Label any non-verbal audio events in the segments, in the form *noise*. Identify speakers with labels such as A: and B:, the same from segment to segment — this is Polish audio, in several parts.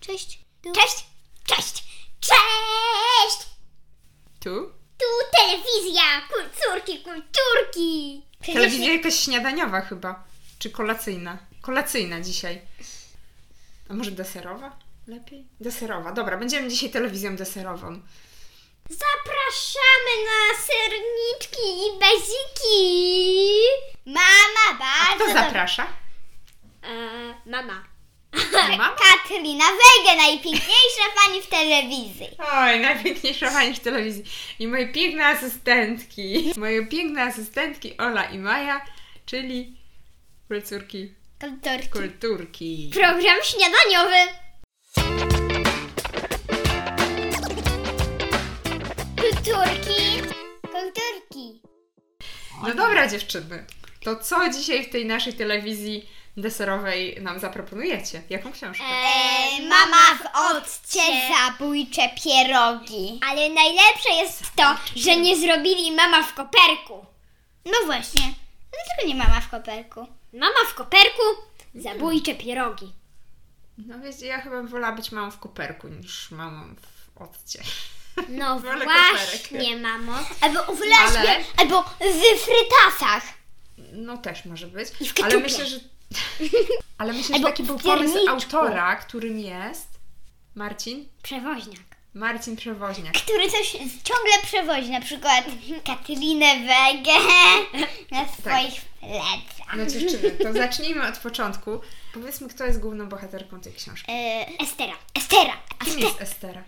A: Cześć. Tu,
B: Cześć! Cześć! Cześć!
C: Tu?
B: Tu telewizja kulturki, kulturki! Przecież-
C: Telewizja jakaś śniadaniowa chyba. Czy kolacyjna? Kolacyjna dzisiaj. A może deserowa? Lepiej? Deserowa. Dobra, będziemy dzisiaj telewizją deserową.
B: Zapraszamy na serniczki i beziki! Mama
C: A
B: bardzo...
C: kto zaprasza?
B: E, mama.
C: Mama?
B: *laughs* Katrina Wege, najpiękniejsza pani w telewizji.
C: Oj, najpiękniejsza pani w telewizji. I moje piękne asystentki. Moje piękne asystentki Ola i Maja, czyli kulturki,
B: Kulturki.
C: kulturki.
B: Program śniadaniowy. Kulturki. Kulturki.
C: No dobra dziewczyny, to co dzisiaj w tej naszej telewizji deserowej nam zaproponujecie? Jaką książkę?
B: E, mama w odcie zabójcze pierogi. Ale najlepsze jest to, że nie zrobili mama w koperku. No właśnie. Dlaczego nie mama w koperku? Mama w koperku, zabójcze pierogi.
C: No wiecie, ja chyba wolała być mamą w koperku niż mamą w odcie.
B: No
C: Wolę
B: właśnie,
C: koperek.
B: mamo. Albo w leśbie,
C: Ale-
B: albo w frytasach.
C: *laughs* No też może być.
B: I w
C: ale
B: ketchupie.
C: myślę, że. *laughs* Ale myślę, że
B: Albo
C: taki był
B: w
C: pomysł
B: pierniczku.
C: autora, którym jest Marcin.
B: Przewoźniak.
C: Marcin Przewoźniak.
B: Który coś ciągle przewozi, na przykład Katrinę Wege
C: Tak.
B: na swoich plecach.
C: No dziewczyny, to zacznijmy od początku. Powiedzmy, kto jest główną bohaterką tej książki.
B: Y, Estera. Estera.
C: Kim jest Estera?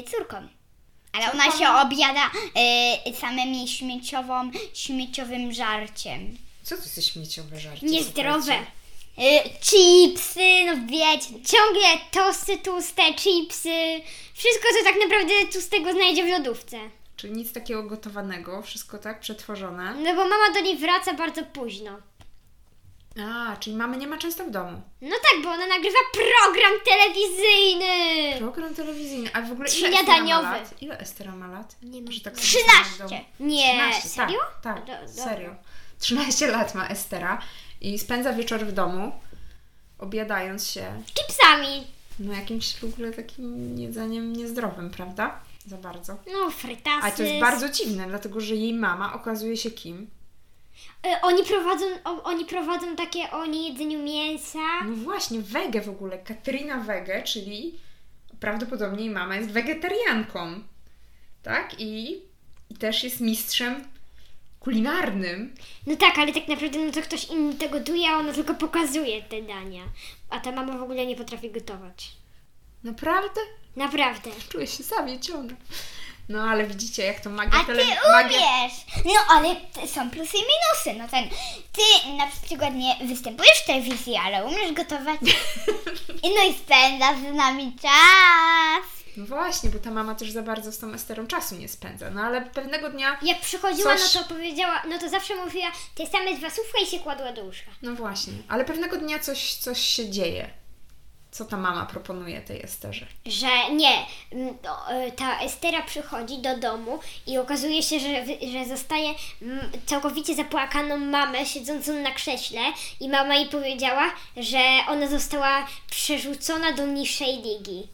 B: Y, córką. Ale ona się objada y, samymi śmieciową, śmieciowym żarciem.
C: Co to znaczy? jest śmieciowe żarcie?
B: Niezdrowe. Y, chipsy, no wiecie, ciągle tosty tłuste, chipsy. Wszystko, co tak naprawdę tłustego znajdzie w lodówce.
C: Czyli nic takiego gotowanego, wszystko tak przetworzone.
B: No bo mama do niej wraca bardzo późno.
C: A, czyli mamy nie ma często w domu.
B: No tak, bo ona nagrywa program telewizyjny.
C: Program telewizyjny, a w ogóle ile
B: Śniadaniowy.
C: Estera ma lat? Ile Estera ma lat?
B: Nie ma.
C: Że tak sobie sama w
B: 13.
C: domu-
B: Nie,
C: 13,
B: serio?
C: Tak,
B: Do-
C: tak
B: dobra.
C: serio. 13 lat ma Estera i spędza wieczór w domu, obiadając się
B: Chipsami.
C: no jakimś w ogóle takim jedzeniem niezdrowym, prawda? Za bardzo.
B: No, frytasy.
C: A to jest bardzo dziwne, dlatego że jej mama okazuje się kim?
B: E, Oni prowadzą, o, oni prowadzą takie o niejedzeniu mięsa.
C: No właśnie, wege w ogóle, Katrina Wege, czyli prawdopodobnie jej mama jest wegetarianką, tak? I, i też jest mistrzem kulinarnym.
B: No tak, ale tak naprawdę no to ktoś inny to gotuje, a ona tylko pokazuje te dania. A ta mama w ogóle nie potrafi gotować.
C: Naprawdę?
B: Naprawdę.
C: Czuję się zawiedziona. No ale widzicie, jak to magia
A: A ty
C: tele...
A: umiesz! No ale t- są plusy i minusy. No ten, ty na przykład nie występujesz w telewizji, ale umiesz
C: *laughs*
A: gotować. I no i spędzasz z nami czas.
C: No właśnie, bo ta mama też za bardzo z tą Esterą czasu nie spędza. No ale pewnego dnia...
B: Jak przychodziła,
C: Coś-
B: no to powiedziała, no to zawsze mówiła te same dwa słówka i się kładła do łóżka.
C: No właśnie, ale pewnego dnia coś, coś się dzieje. Co ta mama proponuje tej Esterze?
B: Że nie, m, o, e, ta Estera przychodzi do domu i okazuje się, że, wy- że zostaje mm, całkowicie zapłakaną mamę siedzącą na krześle i mama jej powiedziała, że ona została przerzucona do niższej ligi,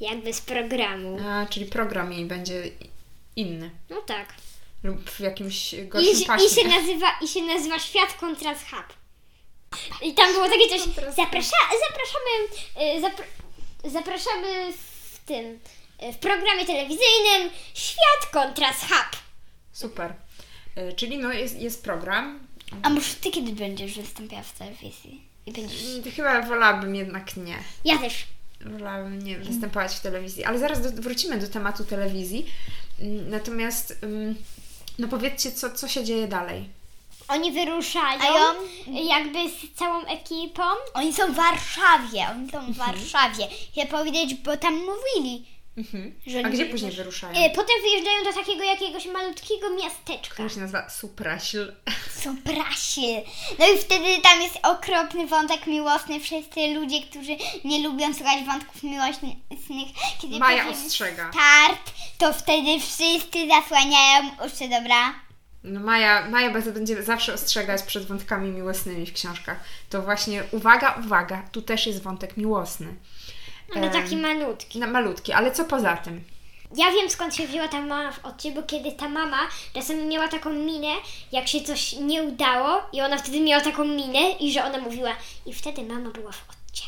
B: jakby z programu.
C: A, czyli program jej będzie inny.
B: No tak.
C: Lub w jakimś
B: I,
C: gorszym
B: i,
C: pasie.
B: się nazywa, I się nazywa Świat Kontrast Hub. I tam było takie coś,
C: Kontrast
B: zaprasza, zapraszamy, y, zapr, zapraszamy w tym, y, w programie telewizyjnym Świat Kontrast Hub.
C: Super. Y, Czyli no jest, jest program.
A: A może ty kiedy będziesz wystąpiła w telewizji? I będziesz...
C: Mm, Chyba wolałabym jednak nie.
B: Ja też.
C: Wolałabym nie występować w telewizji. Ale zaraz do, wrócimy do tematu telewizji. Mm, Natomiast ym, no powiedzcie, co, co się dzieje dalej.
B: Oni wyruszają
A: A ja-
B: jakby z całą ekipą. Mhm.
A: Oni są w Warszawie, oni są w Warszawie. Chcę powiedzieć, bo tam mówili,
C: Mhm.
A: że... E,
C: A gdzie później wyruszają?
B: Y, Potem wyjeżdżają do takiego jakiegoś malutkiego miasteczka.
C: To się nazywa Supraśl.
A: Są prasi. No i wtedy tam jest okropny wątek miłosny. Wszyscy ludzie, którzy nie lubią słuchać wątków miłosnych, kiedy
C: Maja
A: powiemy
C: ostrzega.
A: start, to wtedy wszyscy zasłaniają uszy, dobra?
C: No Maja, Maja bardzo będzie zawsze ostrzegać przed wątkami miłosnymi w książkach. To właśnie uwaga, uwaga, tu też jest wątek miłosny.
B: Ale
C: Em,
B: taki malutki.
C: Na malutki, ale co poza tym?
B: Ja wiem skąd się wzięła ta mama od ciebie, bo kiedy ta mama czasem miała taką minę, jak się coś nie udało i ona wtedy miała taką minę i że ona mówiła i wtedy mama była w odcie.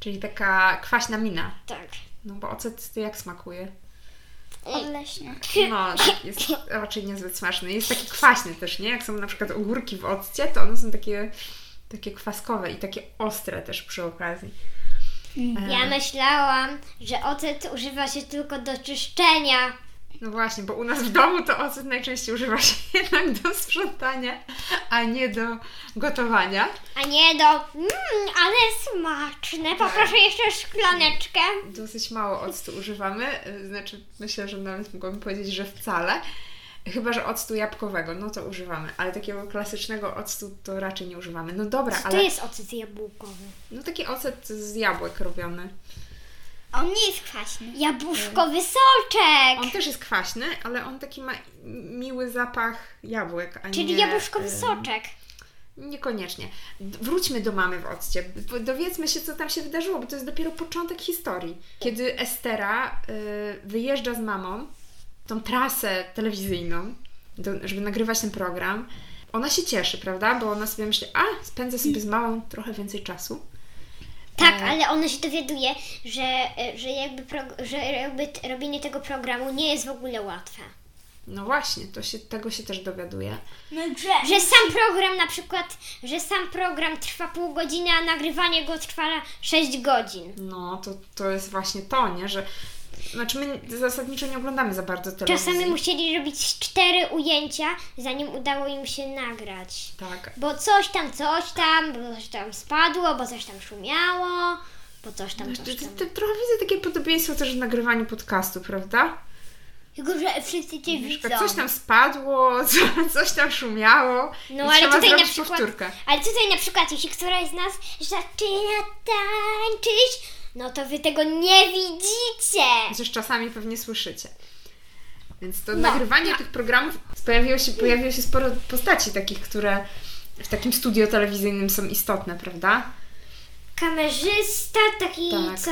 C: Czyli taka kwaśna mina.
B: Tak.
C: No bo ocet jak smakuje?
A: Odleśnie.
C: No, jest raczej niezbyt smaczny. Jest taki kwaśny też, nie? Jak są na przykład ogórki w occie, to one są takie, takie kwaskowe i takie ostre też przy okazji.
B: Mm, Ja
C: E,
B: myślałam, że ocet używa się tylko do czyszczenia.
C: no właśnie, bo u nas w domu to ocet najczęściej używa się *laughs* jednak do sprzątania, a nie do gotowania.
B: A nie do, mmm, ale smaczne, poproszę jeszcze szklaneczkę.
C: Hmm. Dosyć mało octu używamy, y, znaczy myślę, że nawet mogłabym powiedzieć, że wcale. Chyba, że octu jabłkowego, no to używamy, ale takiego klasycznego octu to raczej nie używamy. No dobra,
B: Co to
C: ale
B: jest ocet jabłkowy?
C: no taki ocet z jabłek robiony.
A: On nie jest kwaśny.
B: Jabłuszkowy soczek!
C: On też jest kwaśny, ale on taki ma miły zapach jabłek, a
B: Czyli
C: nie...
B: jabłuszkowy
C: y,
B: soczek.
C: Niekoniecznie. D- Wróćmy do mamy w odcie. B- Dowiedzmy się, co tam się wydarzyło, bo to jest dopiero początek historii. Kiedy Estera y, wyjeżdża z mamą tą trasę telewizyjną, do, żeby nagrywać ten program, ona się cieszy, prawda? Bo ona sobie myśli, a spędzę sobie z mamą trochę więcej czasu. E.
B: Tak, ale ona się dowiaduje, że, e, że, jakby prog- że jakby t- robienie tego programu nie jest w ogóle łatwe.
C: No właśnie, to się, tego się też dowiaduje.
A: No grze.
B: Że sam program na przykład, że sam program trwa pół godziny, a nagrywanie go trwa 6 godzin.
C: No, to, to jest właśnie to, nie? Że, znaczy my zasadniczo nie oglądamy za bardzo telewizji.
B: Czasami musieli robić cztery ujęcia, zanim udało im się nagrać.
C: Tak,
B: Bo coś tam, coś tam, bo coś tam spadło, bo coś tam szumiało, bo coś tam,
C: Ty,
B: coś
C: No, ty,
B: tam.
C: ty, trochę widzę takie podobieństwo też w nagrywaniu podcastu, prawda?
A: Tylko, że wszyscy cię
C: Na
A: widzą.
C: przykład coś tam spadło, *laughs* co, coś tam szumiało.
B: No
C: i
B: ale
C: trzeba
B: tutaj na
C: zrobić
B: przykład,
C: powtórkę.
B: ale tutaj na przykład, jeśli któraś z nas zaczyna tańczyć, no to wy tego nie widzicie.
C: Chociaż czasami pewnie słyszycie. Więc to
B: No.
C: nagrywanie tych programów pojawiło się, pojawiło się sporo postaci takich, które w takim studio telewizyjnym są istotne, prawda?
B: Kamerzysta, taki
C: Tak.
B: co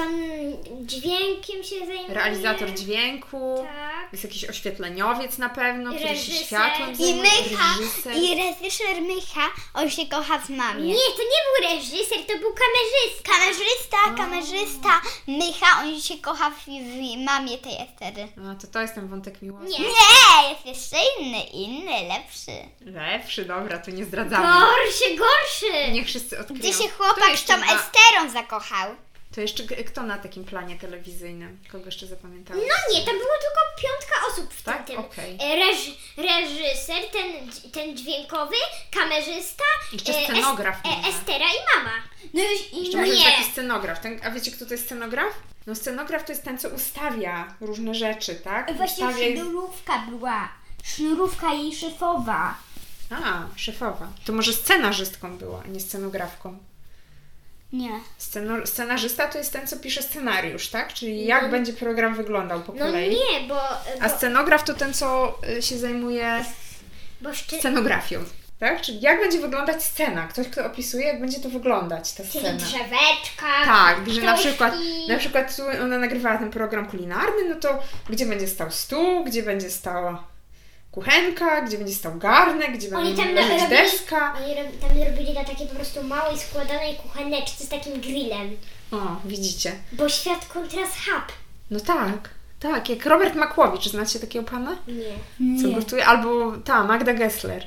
B: dźwiękiem się zajmuje.
C: Realizator dźwięku,
B: Tak.
C: jest jakiś oświetleniowiec na pewno, który się
B: Reżyser.
C: światłem
B: I
A: I
C: zajmuje,
A: Mycha,
C: reżyser.
A: i reżyser Mycha, on się kocha w mamie.
B: Nie, to nie był reżyser, to był kamerzysta.
A: Kamerzysta, kamerzysta Mycha, on się kocha w, w mamie tej Estery.
C: No to to jest ten wątek miłosny.
B: Nie.
A: Nie, jest jeszcze inny, inny, lepszy.
C: Lepszy, dobra, to nie zdradzamy.
B: Gorszy, gorszy.
C: Niech wszyscy odkryją.
A: Gdzie się
C: Kto
A: chłopak z
C: jeszcze
A: tą
C: na-
A: Esterą zakochał.
C: To jeszcze k- kto na takim planie telewizyjnym? Kogo jeszcze zapamiętałam?
B: No nie, tam było tylko piątka osób w
C: Tak?
B: tym.
C: Okej.
B: E, Reż, reżyser, ten, dź- ten dźwiękowy, kamerzysta,
C: Jeszcze
B: e, es-
C: scenograf
B: e,
C: może.
B: Estera i mama.
A: No już
C: Jeszcze
A: inny.
C: może jest
B: nie.
C: taki scenograf. Ten, a wiecie, kto to jest scenograf? No scenograf to jest ten, co ustawia różne rzeczy, tak?
A: Właśnie
C: ustawia...
A: sznurówka była. Sznurówka jej szefowa.
C: A, szefowa. To może scenarzystką była, a nie scenografką.
A: Nie.
C: Sceno... Scenarzysta to jest ten, co pisze scenariusz, tak? Czyli jak będzie program wyglądał po
B: No
C: kolei.
B: nie, bo,
C: A
B: bo,
C: scenograf to ten, co y, się zajmuje
B: bo szczy...
C: scenografią, tak? Czyli jak będzie wyglądać scena? Ktoś, kto opisuje, jak będzie to wyglądać, ta
B: czyli
C: scena.
B: drzeweczka.
C: Tak, że na
B: ktoś
C: przykład,
B: i-
C: na przykład tu ona nagrywała ten program kulinarny, no to gdzie będzie stał stół, gdzie będzie stała kuchenka, gdzie będzie stał garnek, gdzie
B: Oni
C: będzie
B: tam
C: leżeć
B: robili,
C: deska.
B: oni rob, tam robili na takiej po prostu małej, składanej kucheneczce z takim grillem.
C: O, widzicie.
B: Bo świat kontrast hub.
C: No tak, tak, jak Robert Makłowicz, znacie takiego pana?
B: Nie.
C: Co gotuje? Albo ta, Magda Gessler.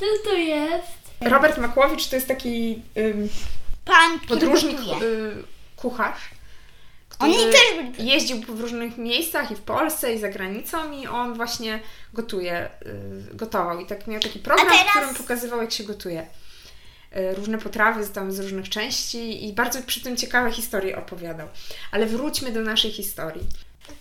A: Co to jest?
C: Robert Makłowicz to jest taki ym,
A: Pan
C: podróżnik,
A: gotuje.
C: y, kucharz.
A: Oni
C: który
A: też byli
C: jeździł w różnych miejscach i w Polsce i za granicą i on właśnie gotuje, y, gotował i tak miał taki program,
A: A teraz-
C: w którym pokazywał jak się gotuje. Y, Różne potrawy z tam z różnych części i bardzo przy tym ciekawe historie opowiadał. Ale wróćmy do naszej historii.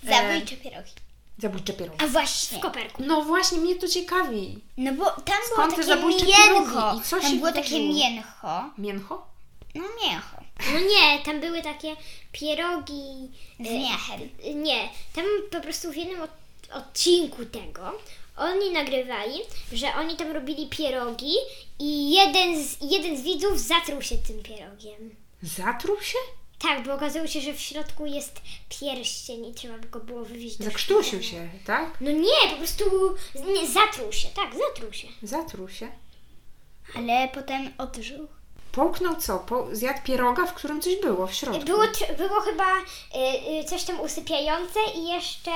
C: E.
A: Zabójcze pierogi.
C: Zabójcze pierogi.
A: A właśnie.
B: W koperku.
C: No właśnie, mnie to ciekawi.
A: No bo tam
C: Skąd te
A: było takie
C: zabójcze
A: mięcho.
C: pierogi i co
A: tam
C: się
A: było takie
C: wydarzyło?
A: mięcho.
C: Mięcho?
A: No mięcho.
B: No nie, tam były takie pierogi.
A: Z
B: e,
A: mięchem.
B: Nie, tam po prostu w jednym od, odcinku tego oni nagrywali, że oni tam robili pierogi i jeden z, jeden z widzów zatruł się tym pierogiem.
C: Zatruł się?
B: Tak, bo okazało się, że w środku jest pierścień i trzeba by go było wywieźć do
C: Zakrztusił
B: szpitala.
C: się, tak?
B: No nie, po prostu nie, zatruł się, tak, zatruł się.
C: Zatruł się.
A: Ale potem odżył.
C: Połknął co? Po... Zjadł pieroga, w którym coś było w środku.
B: Było, tr- było chyba y, y, coś tam usypiające i jeszcze,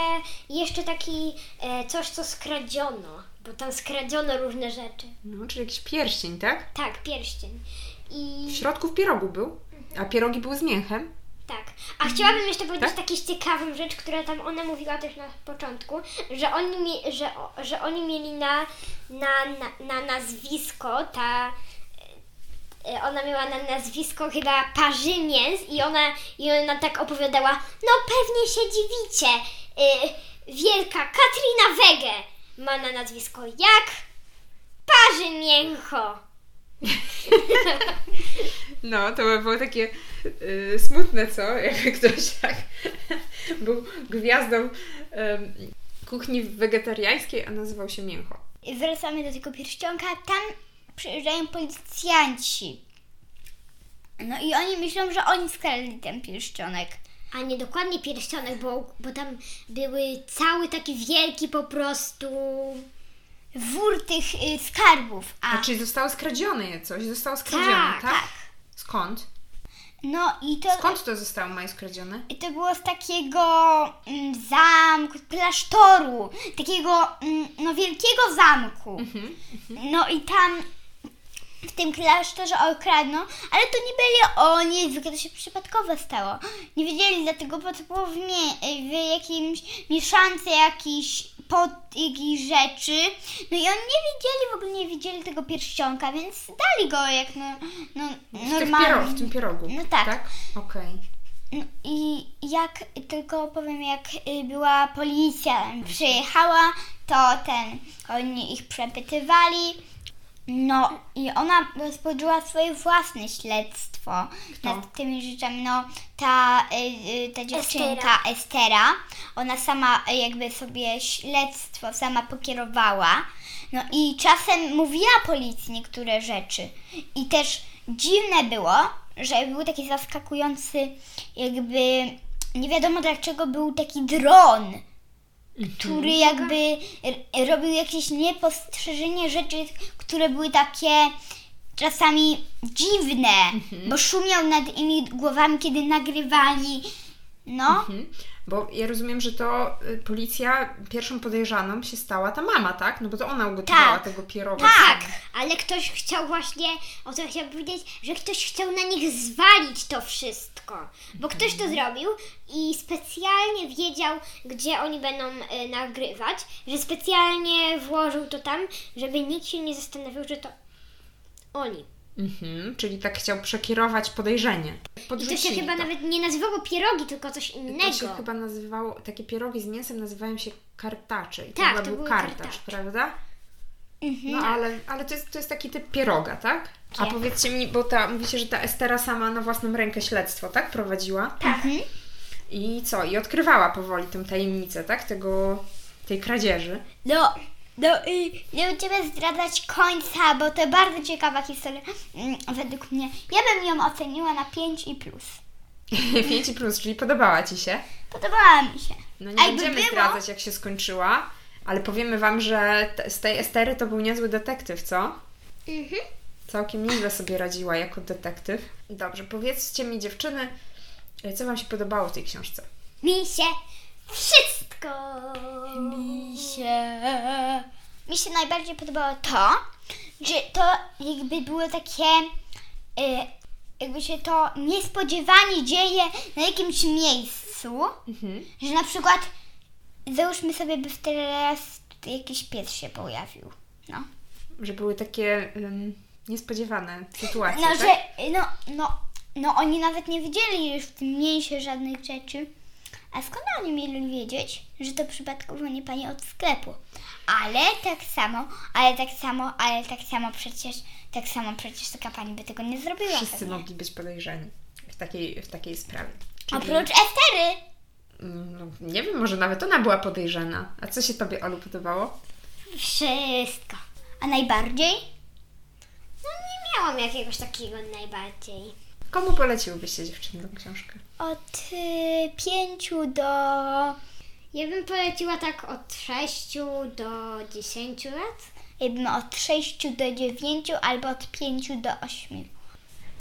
B: jeszcze taki y, coś, co skradziono, bo tam skradziono różne rzeczy.
C: No, czyli jakiś pierścień, tak?
B: Tak, pierścień. I
C: W środku w pierogu był, a pierogi były z mięchem.
B: tak. A chciałabym jeszcze powiedzieć
C: Tak?
B: taką ciekawą rzecz, która tam ona mówiła też na początku, że oni, mie- że, o- że oni mieli na, na, na, na nazwisko ta. y, Ona miała na nazwisko chyba Parzymięs i ona, i ona tak opowiadała, no pewnie się dziwicie, y, wielka Katrina Wege ma na nazwisko jak Parzymięcho.
C: No, to by było takie y, smutne, co? *laughs* Jakby ktoś tak *laughs* był gwiazdą em, kuchni wegetariańskiej, a nazywał się mięcho.
A: Wracamy do tego pierścionka. Tam przyjeżdżają policjanci. No i oni myślą, że oni skradli ten pierścionek.
B: A nie dokładnie pierścionek, bo, bo tam były cały taki wielki po prostu.
A: Wór tych y, skarbów.
C: A
A: A,
C: czyli zostało skradzione coś, zostało skradzione, tak?
B: Tak,
C: Skąd?
A: no i to,
C: Skąd to zostało moje skradzione?
A: i to było z takiego mm, zamku, klasztoru. Takiego, mm, no wielkiego zamku.
C: Mhm,
A: No i tam w tym klasztorze okradną, ale to nie byli oni, zwykle to się przypadkowo stało. Nie wiedzieli dlatego, bo to było w, mie- w jakimś mieszance jakichś pod jakichś rzeczy. No i oni nie widzieli, w ogóle nie widzieli tego pierścionka, więc dali go jak no, no
C: W, tych piero- w
A: normalnie.
C: tym pierogu.
A: No tak.
C: tak? Okej.
A: No I jak, tylko powiem, jak y, była policja tam przyjechała, to ten, oni ich przepytywali. No i ona rozpoczęła swoje własne śledztwo
C: Kto?
A: nad tymi rzeczami. No ta, y, y, ta dziewczynka Estera. ona sama y, jakby sobie śledztwo sama pokierowała. No i czasem mówiła policji niektóre rzeczy. I też dziwne było, że był taki zaskakujący jakby nie wiadomo dlaczego był taki dron który jakby r- robił jakieś niepostrzeżenie rzeczy, które były takie czasami dziwne, bo szumiał nad nimi głowami, kiedy nagrywali. No,
C: Mhm. Bo ja rozumiem, że to y, policja pierwszą podejrzaną się stała ta mama, tak? No bo to ona ugotowała
A: Tak.
C: tego pieroga.
A: tak.
B: Ale ktoś chciał właśnie, o co chciałam powiedzieć, że ktoś chciał na nich zwalić to wszystko. Bo ktoś to zrobił i specjalnie wiedział, gdzie oni będą y, nagrywać, że specjalnie włożył to tam, żeby nikt się nie zastanawiał, że to oni.
C: Mhm. Czyli tak chciał przekierować podejrzenie.
B: I to się
C: Podrzucili
B: chyba
C: to.
B: nawet nie nazywało pierogi, tylko coś innego.
C: To się chyba nazywało, takie pierogi z mięsem nazywają się kartacze. I to
B: Tak,
C: chyba
B: to
C: był
B: były
C: kartacz,
B: kartacze. Mhm.
C: prawda? No ale, ale to, jest, to jest taki typ pieroga, tak? A powiedzcie mi, bo ta, mówicie, że ta Estera sama na własną rękę śledztwo, tak? Prowadziła?
A: Tak. Mhm.
C: I co? I odkrywała powoli tę tajemnicę, tak? Tego, tej kradzieży. *laughs*
A: No, no y, nie będziemy zdradzać końca, bo to bardzo ciekawa historia mm, według mnie. Ja bym ją oceniła na 5 i plus.
C: 5 plus, czyli podobała Ci się.
A: Podobała mi się.
C: No
A: A
C: nie
A: jakby
C: będziemy
A: było-
C: zdradzać, jak się skończyła, ale powiemy Wam, że te, z tej Estery to był niezły detektyw, co?
B: Mhm.
C: Całkiem nieźle sobie radziła jako detektyw. Dobrze, powiedzcie mi dziewczyny, e, co Wam się podobało w tej książce?
B: Mi się wszystko.
A: Mi się. Mi się najbardziej podobało to, że to jakby było takie. y, Jakby się to niespodziewanie dzieje na jakimś miejscu,
C: Mhm.
A: że na przykład załóżmy sobie, by teraz jakiś pies się pojawił. No,
C: Że były takie ym, niespodziewane sytuacje,
A: no
C: tak?
A: że no, no, no oni nawet nie widzieli już w tym mięsie żadnych rzeczy. A skąd oni mieli wiedzieć, że to przypadkowo nie pani od sklepu? Ale tak samo, ale tak samo, ale tak samo przecież, tak samo przecież taka pani by tego nie zrobiła.
C: Wszyscy
A: pewnie.
C: mogli być podejrzani w takiej, w takiej sprawie. Czyli,
A: Oprócz Estery.
C: mm, no, nie wiem, może nawet ona była podejrzana. A co się Tobie, Olu, podobało?
B: Wszystko.
A: A najbardziej?
B: No nie miałam jakiegoś takiego najbardziej.
C: Komu poleciłybyście dziewczyny tą książkę?
A: Od y, pięciu do...
B: Ja bym poleciła tak od 6 do 10 lat.
A: Ja bym od 6 do 9 albo od 5 do 8.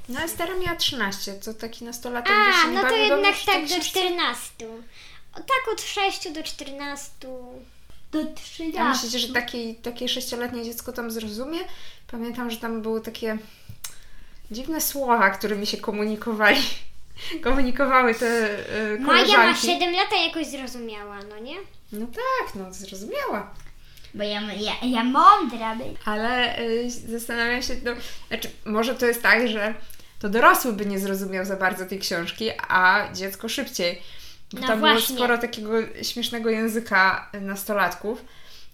C: No Estera miała 13, to taki nastolatek by
B: A,
C: się nie
B: no to
C: bawił dobrze
B: jednak
C: przy tej
B: tak do
C: książce.
B: 14. O, Tak od 6 do 14.
A: Do 3
C: Ja myślicie, że taki, takie sześcioletnie dziecko tam zrozumie? Pamiętam, że tam były takie dziwne słowa, którymi się komunikowali. *laughs* Komunikowały te y, koleżanki.
B: Maja ma 7 lat, a jakoś zrozumiała, no nie?
C: No tak, no zrozumiała.
A: Bo ja, ja, ja mądra by.
C: Ale y, zastanawiam się, no, znaczy, może to jest tak, że to dorosły by nie zrozumiał za bardzo tej książki, a dziecko szybciej. Bo
B: No
C: tam
B: właśnie.
C: było sporo takiego śmiesznego języka y, nastolatków,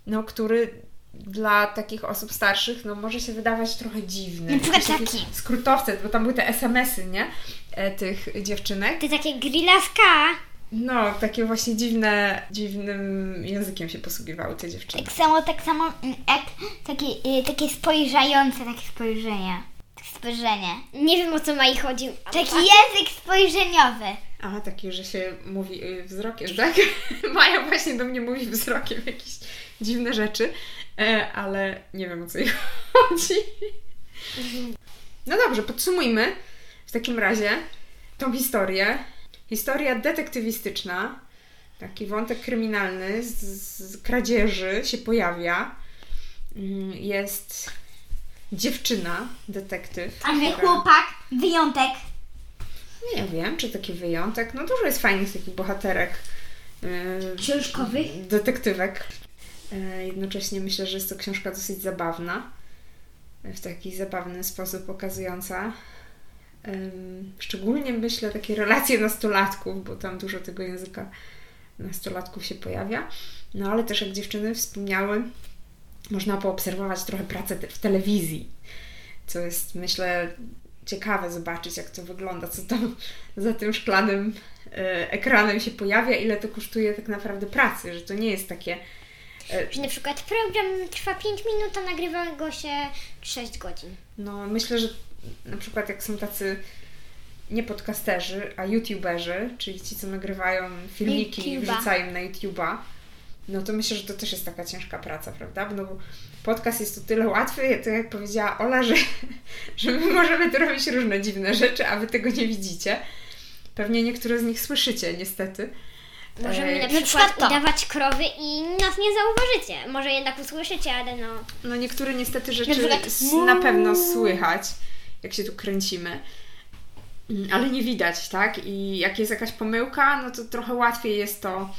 C: no, który dla takich osób starszych no, może się wydawać trochę dziwny.
A: Na przykład
C: Jakiś taki
A: taki.
C: Skrótowce, bo tam były te SMS-y, nie? E, tych dziewczynek.
B: Ty takie grilaska.
C: No, takie właśnie dziwne, dziwnym językiem się posługiwały te dziewczyny.
A: Tak samo, tak samo, mm, jak takie, y, takie spojrzające, takie spojrzenie. Tak spojrzenie.
B: Nie wiem o co Mai chodzi.
A: Taki język spojrzeniowy.
C: A, taki, że się mówi y, wzrokiem, tak? *laughs* Maja właśnie do mnie mówi wzrokiem jakieś dziwne rzeczy, e, ale nie wiem o co jej *laughs* chodzi. No dobrze, podsumujmy w takim razie tą historię. Historia detektywistyczna, taki wątek kryminalny z, z kradzieży się pojawia. Mm, Jest dziewczyna, detektyw.
A: A nie
C: która-
A: chłopak, wyjątek.
C: nie wiem, czy taki wyjątek. No dużo jest fajnych takich bohaterek. yy,
A: Książkowych?
C: Detektywek. Yy, Jednocześnie myślę, że jest to książka dosyć zabawna. W taki zabawny sposób pokazująca. ym, Szczególnie myślę takie relacje nastolatków, bo tam dużo tego języka nastolatków się pojawia. No ale też jak dziewczyny wspomniały, można poobserwować trochę pracę te- w telewizji, co jest myślę ciekawe zobaczyć, jak to wygląda, co tam za tym szklanym e, ekranem się pojawia, ile to kosztuje tak naprawdę pracy, że to nie jest takie.
B: Że na przykład program trwa 5 minut, a nagrywa go się 6 godzin.
C: No, myślę, że na przykład jak są tacy nie podcasterzy, a youtuberzy, czyli ci, co nagrywają filmiki i
A: YouTuba.
C: wrzucają na YouTuba, no to myślę, że to też jest taka ciężka praca, prawda? No bo podcast jest o tyle łatwy, to jak powiedziała Ola, że, *laughs* że my możemy tu robić różne dziwne rzeczy, a wy tego nie widzicie. Pewnie niektóre z nich słyszycie, niestety.
B: Możemy
C: Ej.
B: na
A: Na
B: przykład
A: przykład to.
B: udawać krowy i nas nie zauważycie. Może jednak usłyszycie, ale no.
C: No niektóre niestety
A: Na
C: rzeczy
A: przykład-
C: s- na pewno słychać, jak się tu kręcimy, Mm, ale nie widać, tak? I jak jest jakaś pomyłka, no to trochę łatwiej jest to,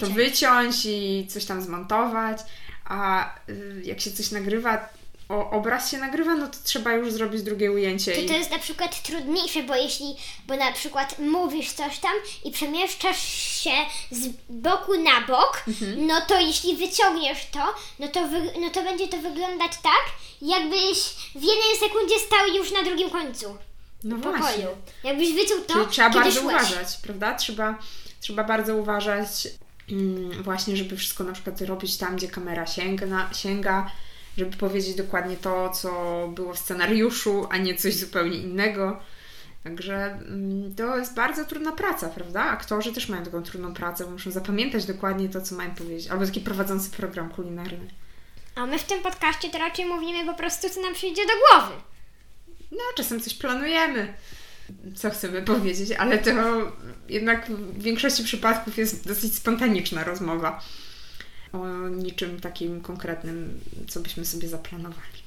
C: to wyciąć i coś tam zmontować, a y, jak się coś nagrywa, o, obraz się nagrywa, no to trzeba już zrobić drugie ujęcie.
B: To,
C: i...
B: to jest na przykład trudniejsze, bo jeśli, bo na przykład mówisz coś tam i przemieszczasz się z boku na bok,
C: Mhm.
B: no to jeśli wyciągniesz to, no to, wy, no to będzie to wyglądać tak, jakbyś w jednej sekundzie stał już na drugim końcu
C: no
B: pokoju. Jakbyś wyciął to,
C: Czyli trzeba
B: kiedy
C: bardzo
B: szłeś.
C: uważać, prawda? Trzeba, trzeba bardzo uważać mm, właśnie, żeby wszystko na przykład robić tam, gdzie kamera sięga, sięga, żeby powiedzieć dokładnie to, co było w scenariuszu, a nie coś zupełnie innego. Także mm, to jest bardzo trudna praca, prawda? Aktorzy też mają taką trudną pracę, bo muszą zapamiętać dokładnie to, co mają powiedzieć. Albo taki prowadzący program kulinarny.
B: A my w tym podcaście to raczej mówimy po prostu, co nam przyjdzie do głowy.
C: No, czasem coś planujemy, co chcemy powiedzieć, ale to jednak w większości przypadków jest dosyć spontaniczna rozmowa o niczym takim konkretnym, co byśmy sobie zaplanowali.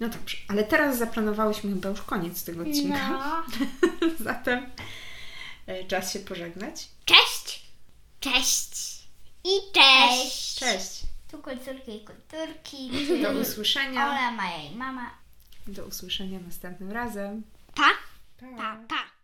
C: No dobrze, ale teraz zaplanowałyśmy chyba już koniec tego odcinka,
B: No.
C: *laughs* zatem e, czas się pożegnać.
B: Cześć! Cześć! I cześć!
C: Cześć,
A: Tu kulturki i kulturki.
C: *laughs* do usłyszenia,
A: Ola, moja i mama.
C: do usłyszenia następnym razem.
B: Pa,
C: Pa!
B: pa, pa!